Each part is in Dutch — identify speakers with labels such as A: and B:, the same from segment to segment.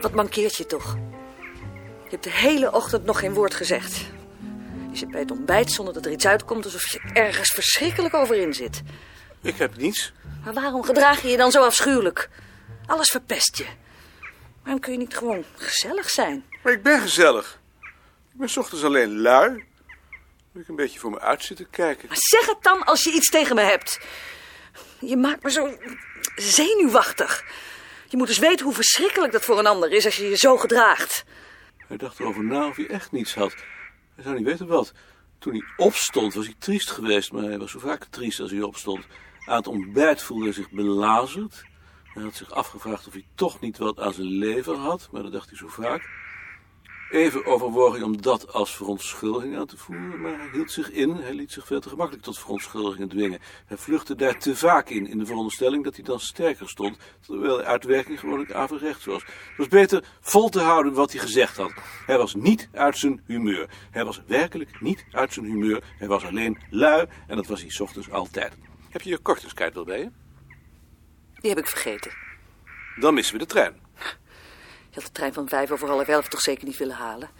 A: Wat mankeert je toch? Je hebt de hele ochtend nog geen woord gezegd. Je zit bij het ontbijt zonder dat er iets uitkomt... alsof je ergens verschrikkelijk over in zit.
B: Ik heb niets.
A: Maar waarom gedraag je je dan zo afschuwelijk? Alles verpest je. Waarom kun je niet gewoon gezellig zijn?
B: Maar ik ben gezellig. Ik ben 's ochtends alleen lui. Moet ik een beetje voor me uit zitten kijken.
A: Maar zeg het dan als je iets tegen me hebt. Je maakt me zo zenuwachtig. Je moet eens weten hoe verschrikkelijk dat voor een ander is als je je zo gedraagt.
B: Hij dacht erover na of hij echt niets had. Hij zou niet weten wat. Toen hij opstond was hij triest geweest, maar hij was zo vaak triest als hij opstond. Aan het ontbijt voelde hij zich belazerd. Hij had zich afgevraagd of hij toch niet wat aan zijn leven had, maar dat dacht hij zo vaak. Even overwoog hij om dat als verontschuldiging aan te voeren, maar hij hield zich in. Hij liet zich veel te gemakkelijk tot verontschuldigingen dwingen. Hij vluchtte daar te vaak in, in de veronderstelling dat hij dan sterker stond, terwijl de uitwerking gewoonlijk averechts was. Het was beter vol te houden wat hij gezegd had. Hij was niet uit zijn humeur. Hij was werkelijk niet uit zijn humeur. Hij was alleen lui en dat was hij 's ochtends altijd. Heb je je kortingskaart wel bij je?
A: Die heb ik vergeten.
B: Dan missen we de trein.
A: Je had de trein van vijf over half elf toch zeker niet willen halen?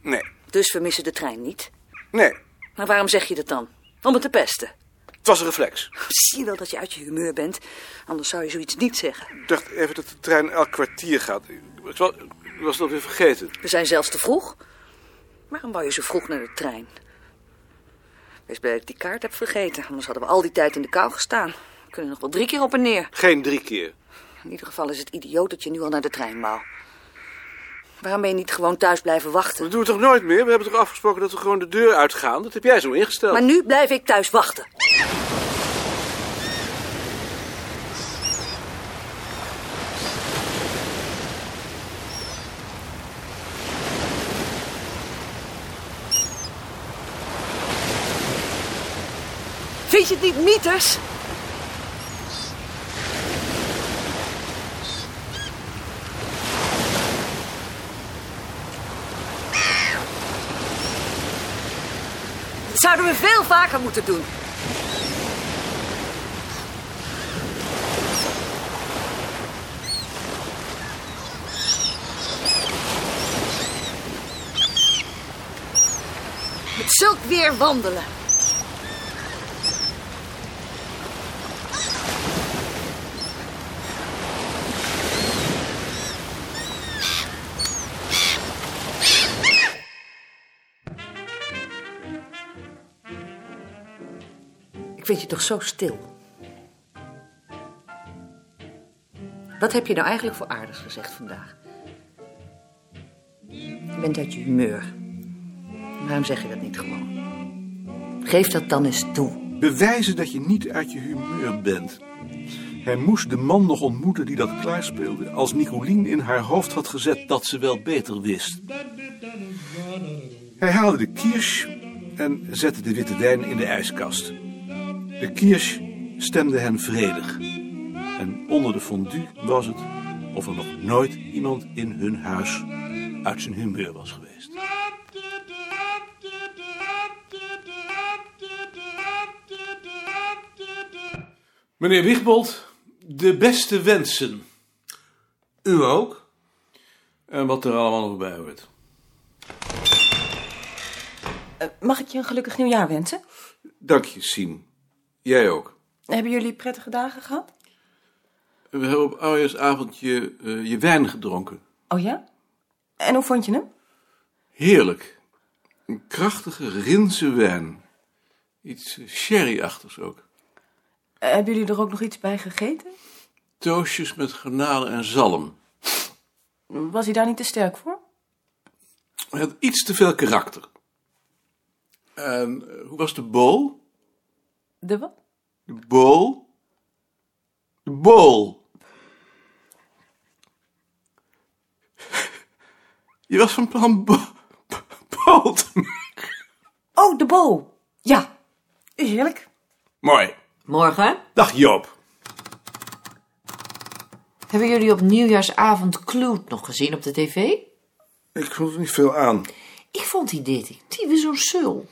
B: Nee,
A: Dus we missen de trein niet.
B: nee.
A: Maar waarom zeg je dat dan? Om het te pesten.
B: Het was een reflex.
A: Zie je wel dat je uit je humeur bent. Anders zou je zoiets niet zeggen.
B: Ik dacht even dat de trein elk kwartier gaat. Ik was, ik was het alweer vergeten.
A: We zijn zelfs te vroeg. Waarom wou je zo vroeg naar de trein? Wees blij dat ik die kaart heb vergeten. Anders hadden we al die tijd in de kou gestaan. We kunnen nog wel drie keer op en neer.
B: Geen drie keer.
A: In ieder geval is het idioot dat je nu al naar de trein wou. Waarom ben je niet gewoon thuis blijven
B: We
A: wachten?
B: doen het toch nooit meer? We hebben toch afgesproken dat we gewoon de deur uitgaan? Dat heb jij zo ingesteld.
A: Maar nu blijf ik thuis wachten. Vind je het niet mieters? Dat zouden we veel vaker moeten doen. Met zulk weer wandelen. Ik vind je toch zo stil. Wat heb je nou eigenlijk voor aardigs gezegd vandaag? Je bent uit je humeur. Waarom zeg je dat niet gewoon? Geef dat dan eens toe.
B: Bewijzen dat je niet uit je humeur bent. Hij moest de man nog ontmoeten die dat klaarspeelde. Als Nicoline in haar hoofd had gezet dat ze wel beter wist. Hij haalde de kirsch en zette de witte wijn in de ijskast. De kirsch stemde hen vredig. En onder de fondue was het of er nog nooit iemand in hun huis uit zijn humeur was geweest. Meneer Wiegbold, de beste wensen. U ook. En wat er allemaal nog bij hoort.
C: Eh, Mag ik je een gelukkig nieuwjaar wensen?
B: Dank je, Sien. Jij ook.
C: Hebben jullie prettige dagen gehad?
B: We hebben op oudejaarsavond je, eh, je wijn gedronken.
C: Oh ja? En hoe vond je hem?
B: Heerlijk. Een krachtige Rinse wijn. Iets eh, sherryachtigs ook.
C: Eh, Hebben jullie er ook nog iets bij gegeten?
B: Toosjes met garnalen en zalm.
C: Was hij daar niet te sterk voor?
B: Het had iets te veel karakter. En eh, hoe was de bol?
C: De wat?
B: De bol? De bol. Je was van plan bo- bo- bol te maken.
C: Oh, de bol. Ja. Heerlijk.
B: Mooi.
D: Morgen
B: Dag Joop.
D: hebben jullie op nieuwjaarsavond Clued nog gezien op de tv?
B: Ik vond er niet veel aan.
D: Ik vond die detectieve zo'n sul.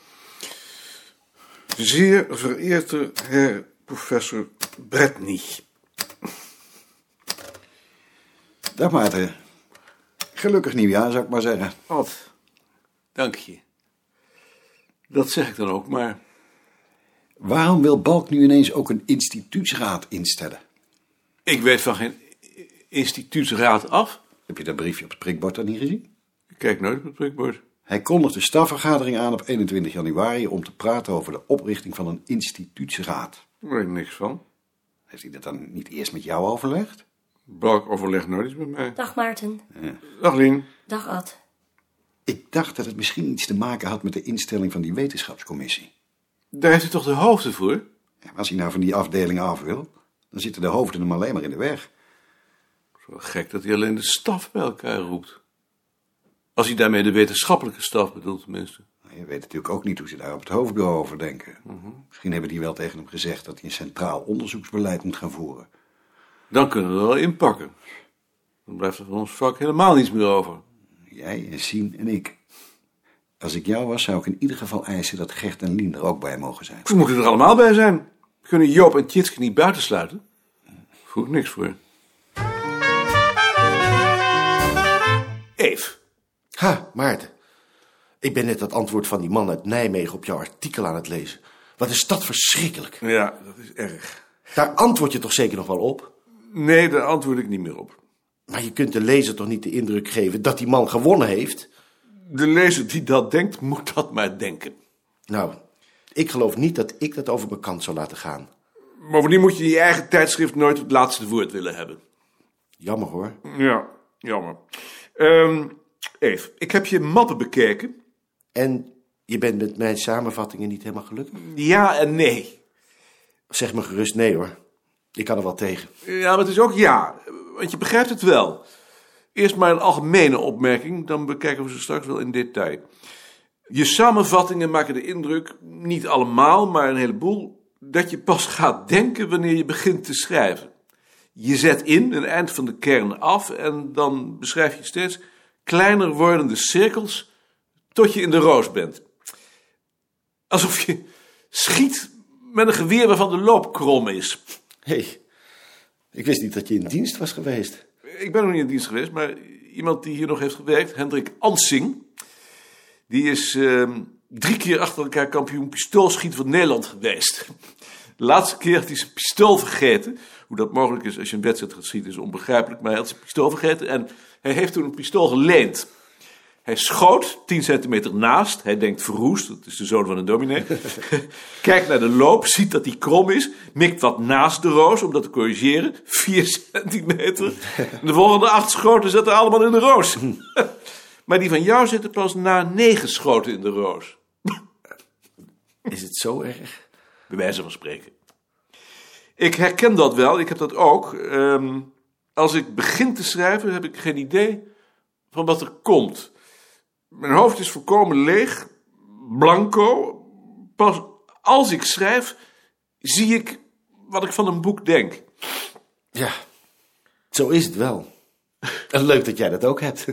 B: Zeer vereerde heer professor Bretny.
E: Dag Maarten. Gelukkig nieuwjaar, zou ik maar zeggen.
B: Ad, dank je. Dat zeg ik dan ook, maar
E: Waarom wil Balk nu ineens ook een instituutsraad instellen?
B: ik weet van geen instituutsraad af.
E: Heb je dat briefje op het prikbord dan niet gezien?
B: Ik kijk nooit op het prikbord.
E: Hij kondigde stafvergadering aan op 21 januari om te praten over de oprichting van een instituutsraad.
B: Daar weet ik niks van.
E: Heeft hij dat dan niet eerst met jou overlegd?
B: Balk overlegt nooit iets met mij.
F: Dag Maarten.
B: Dag Lien.
F: Dag Ad.
E: Ik dacht dat het misschien iets te maken had met de instelling van die wetenschapscommissie.
B: Daar heeft u toch de hoofden voor?
E: Ja, Als hij nou van die afdelingen af wil, dan zitten de hoofden hem alleen maar in de weg.
B: Zo gek dat hij alleen de staf bij elkaar roept. Als hij daarmee de wetenschappelijke staf bedoelt, tenminste.
E: Maar Nou, Je weet natuurlijk ook niet hoe ze daar op het hoofdbureau over denken. Misschien hebben die wel tegen hem gezegd dat hij een centraal onderzoeksbeleid moet gaan voeren.
B: Dan kunnen we er wel inpakken. Dan blijft er van ons vak helemaal niets meer over.
E: Jij, en Sien en ik. Als ik jou was, zou ik in ieder geval eisen dat Gert en Lien er ook bij mogen zijn.
B: Ze moeten er allemaal bij zijn. Kunnen Joop en Tjitske niet buitensluiten? Voel ik niks voor. Eve.
G: Ha, Maarten. Ik ben net dat antwoord van die man uit Nijmegen op jouw artikel aan het lezen. Wat is dat verschrikkelijk.
B: Ja, dat is erg.
G: Daar antwoord je toch zeker nog wel op?
B: Nee, daar antwoord ik niet meer op.
G: Maar je kunt de lezer toch niet de indruk geven dat die man gewonnen heeft?
B: De lezer die dat denkt, moet dat maar denken.
G: Nou, ik geloof niet dat ik dat over mijn kant zou laten gaan.
B: Bovendien moet je je eigen tijdschrift nooit het laatste woord willen hebben.
G: Jammer hoor.
B: Ja, jammer. Ehm Eve, ik heb je mappen bekeken.
G: En je bent met mijn samenvattingen niet helemaal gelukkig?
B: Ja en nee.
G: Zeg me gerust nee hoor. Ik kan er wel tegen.
B: Ja, maar het is ook ja, want je begrijpt het wel. Eerst maar een algemene opmerking, dan bekijken we ze straks wel in detail. Je samenvattingen maken de indruk, niet allemaal, maar een heleboel, dat je pas gaat denken wanneer je begint te schrijven. Je zet in een eind van de kern af en dan beschrijf je steeds kleiner wordende cirkels tot je in de roos bent. Alsof je schiet met een geweer waarvan de loop krom is.
G: Hé, hey, ik wist niet dat je in dienst was geweest.
B: Ik ben nog niet in dienst geweest, maar iemand die hier nog heeft gewerkt, Hendrik Ansing, die is ehm, drie keer achter elkaar kampioen pistoolschieten van Nederland geweest. De laatste keer had hij zijn pistool vergeten. Hoe dat mogelijk is als je een wedstrijd gaat schieten is onbegrijpelijk, maar hij had zijn pistool vergeten en hij heeft toen een pistool geleend. Hij schoot, 10 centimeter naast. Hij denkt verroest, dat is de zoon van een dominee. Kijkt naar de loop, ziet dat hij krom is. Mikt wat naast de roos om dat te corrigeren. 4 centimeter. En de volgende acht schoten zitten allemaal in de roos. maar die van jou zitten pas na negen schoten in de roos.
G: Is het zo erg?
B: Bij wijze van spreken. Ik herken dat wel, ik heb dat ook. Ehm, als ik begin te schrijven, heb ik geen idee van wat er komt. Mijn hoofd is volkomen leeg, blanco. Pas als ik schrijf, zie ik wat ik van een boek denk.
G: Ja, zo is het wel. En leuk dat jij dat ook hebt.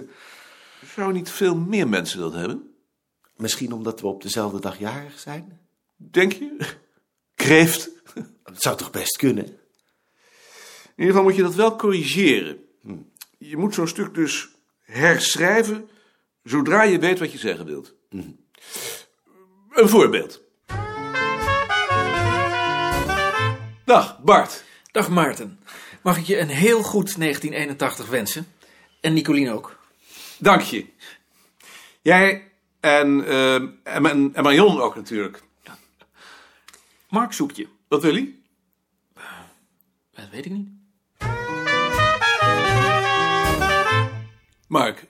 B: Zou niet veel meer mensen dat hebben?
G: Misschien omdat we op dezelfde dag jarig zijn?
B: Denk je? Kreeft.
G: Dat zou toch best kunnen?
B: In ieder geval moet je dat wel corrigeren. Hm. Je moet zo'n stuk dus herschrijven zodra je weet wat je zeggen wilt. Hm. Een voorbeeld. Dag, Bart.
H: Dag Maarten. Mag ik je een heel goed 1981 wensen? En Nicolien ook.
B: Dank je. Jij en, eh, en, en Marion ook natuurlijk.
H: Mark zoekt je.
B: Wat wil je?
H: Dat weet ik niet.
B: Mark,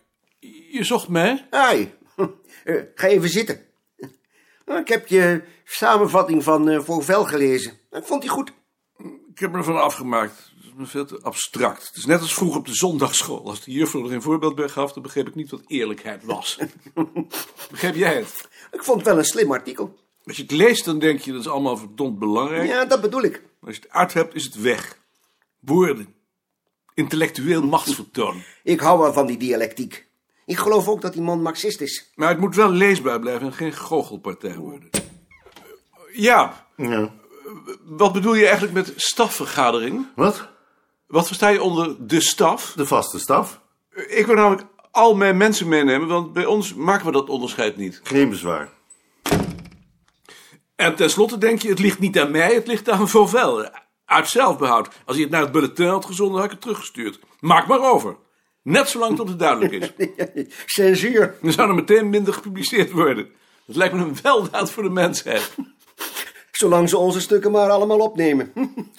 B: je zocht mij?
I: Hoi. Eh, ga even zitten. Nou, Ik heb je samenvatting van eh Vauvel gelezen. Ik vond die goed.
B: Ik heb me ervan afgemaakt. Het is me veel te abstract. Het is net als vroeg op de zondagschool. Als de juffrouw er geen voorbeeld bij gaf, dan begreep ik niet wat eerlijkheid was. Begrijp jij het?
I: Ik vond het wel een slim artikel.
B: Als je het leest, dan denk je dat is allemaal verdomd belangrijk.
I: Ja, dat bedoel ik.
B: Maar Als je het uit hebt, is het weg. Woorden. Intellectueel machtsvertoon.
I: Ik hou wel van die dialectiek. Ik geloof ook dat die man marxist is.
B: Maar het moet wel leesbaar blijven en geen goochelpartij worden. Ja. Wat bedoel je eigenlijk met stafvergadering?
G: Wat?
B: Wat versta je onder de staf?
G: De vaste staf?
B: Ik word namelijk al mijn mensen meenemen, want bij ons maken we dat onderscheid niet.
F: Geen bezwaar.
B: En tenslotte denk je, het ligt niet aan mij, het ligt aan Vauvel. Uit zelfbehoud. Als hij het naar het bulletin had gezonden, had ik het teruggestuurd. Maak maar over. Net zolang tot het duidelijk is.
I: Censuur.
B: Dan zou er meteen minder gepubliceerd worden. Dat lijkt me een weldaad voor de mensheid.
I: Zolang ze onze stukken maar allemaal opnemen.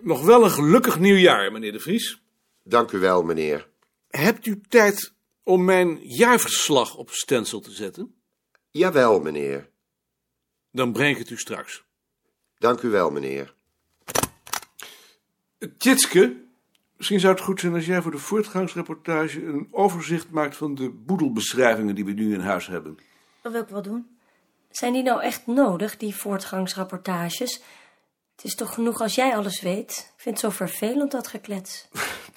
B: Nog wel een gelukkig nieuwjaar, meneer De Vries.
F: Dank u wel, meneer.
B: Hebt u tijd om mijn jaarverslag op stencil te zetten?
F: Jawel, meneer.
B: Dan breng ik het u straks.
F: Dank u wel, meneer.
B: Tjitske, misschien zou het goed zijn als jij voor de voortgangsreportage een overzicht maakt van de boedelbeschrijvingen die we nu in huis hebben.
J: Dat wil ik wel doen. Zijn die nou echt nodig, die voortgangsrapportages? Het is toch genoeg als jij alles weet? Ik vind het zo vervelend, dat geklets.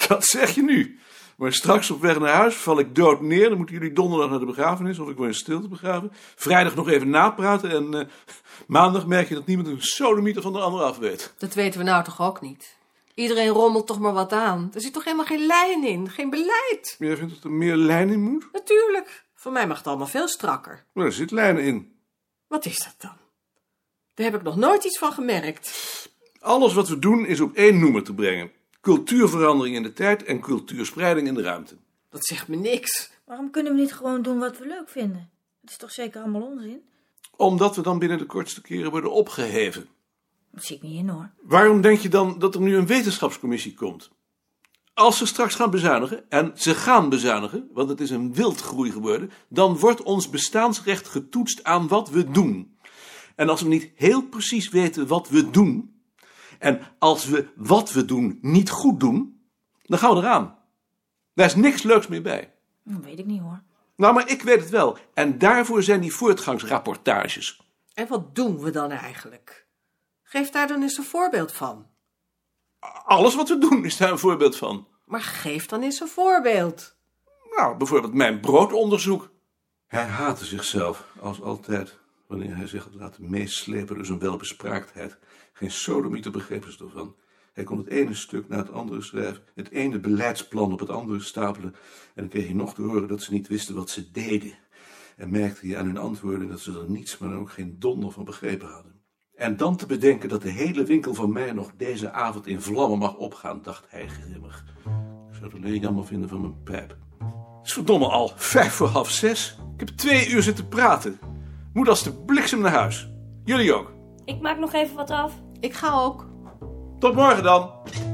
B: Dat zeg je nu. Maar straks op weg naar huis val ik dood neer. Dan moeten jullie donderdag naar de begrafenis of ik word in stilte begraven. Vrijdag nog even napraten en eh, maandag merk je dat niemand een sodomieter van de ander af weet.
D: Dat weten we nou toch ook niet? Iedereen rommelt toch maar wat aan. Er zit toch helemaal geen lijn in, geen beleid?
B: Jij vindt dat er meer lijn in moet?
D: Natuurlijk. Voor mij mag het allemaal veel strakker.
B: Nou, er zit lijn in.
D: Wat is dat dan? Daar heb ik nog nooit iets van gemerkt.
B: Alles wat we doen is op één noemer te brengen. Cultuurverandering in de tijd en cultuurspreiding in de ruimte.
D: Dat zegt me niks.
J: Waarom kunnen we niet gewoon doen wat we leuk vinden? Het is toch zeker allemaal onzin?
B: Omdat we dan binnen de kortste keren worden opgeheven.
J: Dat zie ik niet in hoor.
B: Waarom denk je dan dat er nu een wetenschapscommissie komt? Als ze straks gaan bezuinigen, en ze gaan bezuinigen, want het is een wildgroei geworden, dan wordt ons bestaansrecht getoetst aan wat we doen. En als we niet heel precies weten wat we doen, en als we wat we doen niet goed doen, dan gaan we eraan. Daar is niks leuks meer bij.
J: Dat weet ik niet hoor.
B: Nou, maar ik weet het wel. En daarvoor zijn die voortgangsrapportages.
D: En wat doen we dan eigenlijk? Geef daar dan eens een voorbeeld van.
B: Alles wat we doen is daar een voorbeeld van.
D: Maar geef dan eens een voorbeeld.
B: Nou, bijvoorbeeld mijn broodonderzoek. Hij haatte zichzelf, als altijd, wanneer hij zich had laten meeslepen door zijn welbespraaktheid. Geen sodomieter begrepen ze ervan. Hij kon het ene stuk na het andere schrijven, het ene beleidsplan op het andere stapelen. En dan kreeg hij nog te horen dat ze niet wisten wat ze deden. En merkte hij aan hun antwoorden dat ze er niets, maar dan ook geen donder van begrepen hadden. En dan te bedenken dat de hele winkel van mij nog deze avond in vlammen mag opgaan, dacht hij grimmig. Ik zou het alleen jammer vinden van mijn pijp. Het is verdomme al vijf voor half zes. Ik heb twee uur zitten praten. Moet als de bliksem naar huis. Jullie ook.
J: Ik maak nog even wat af.
D: Ik ga ook.
B: Tot morgen dan.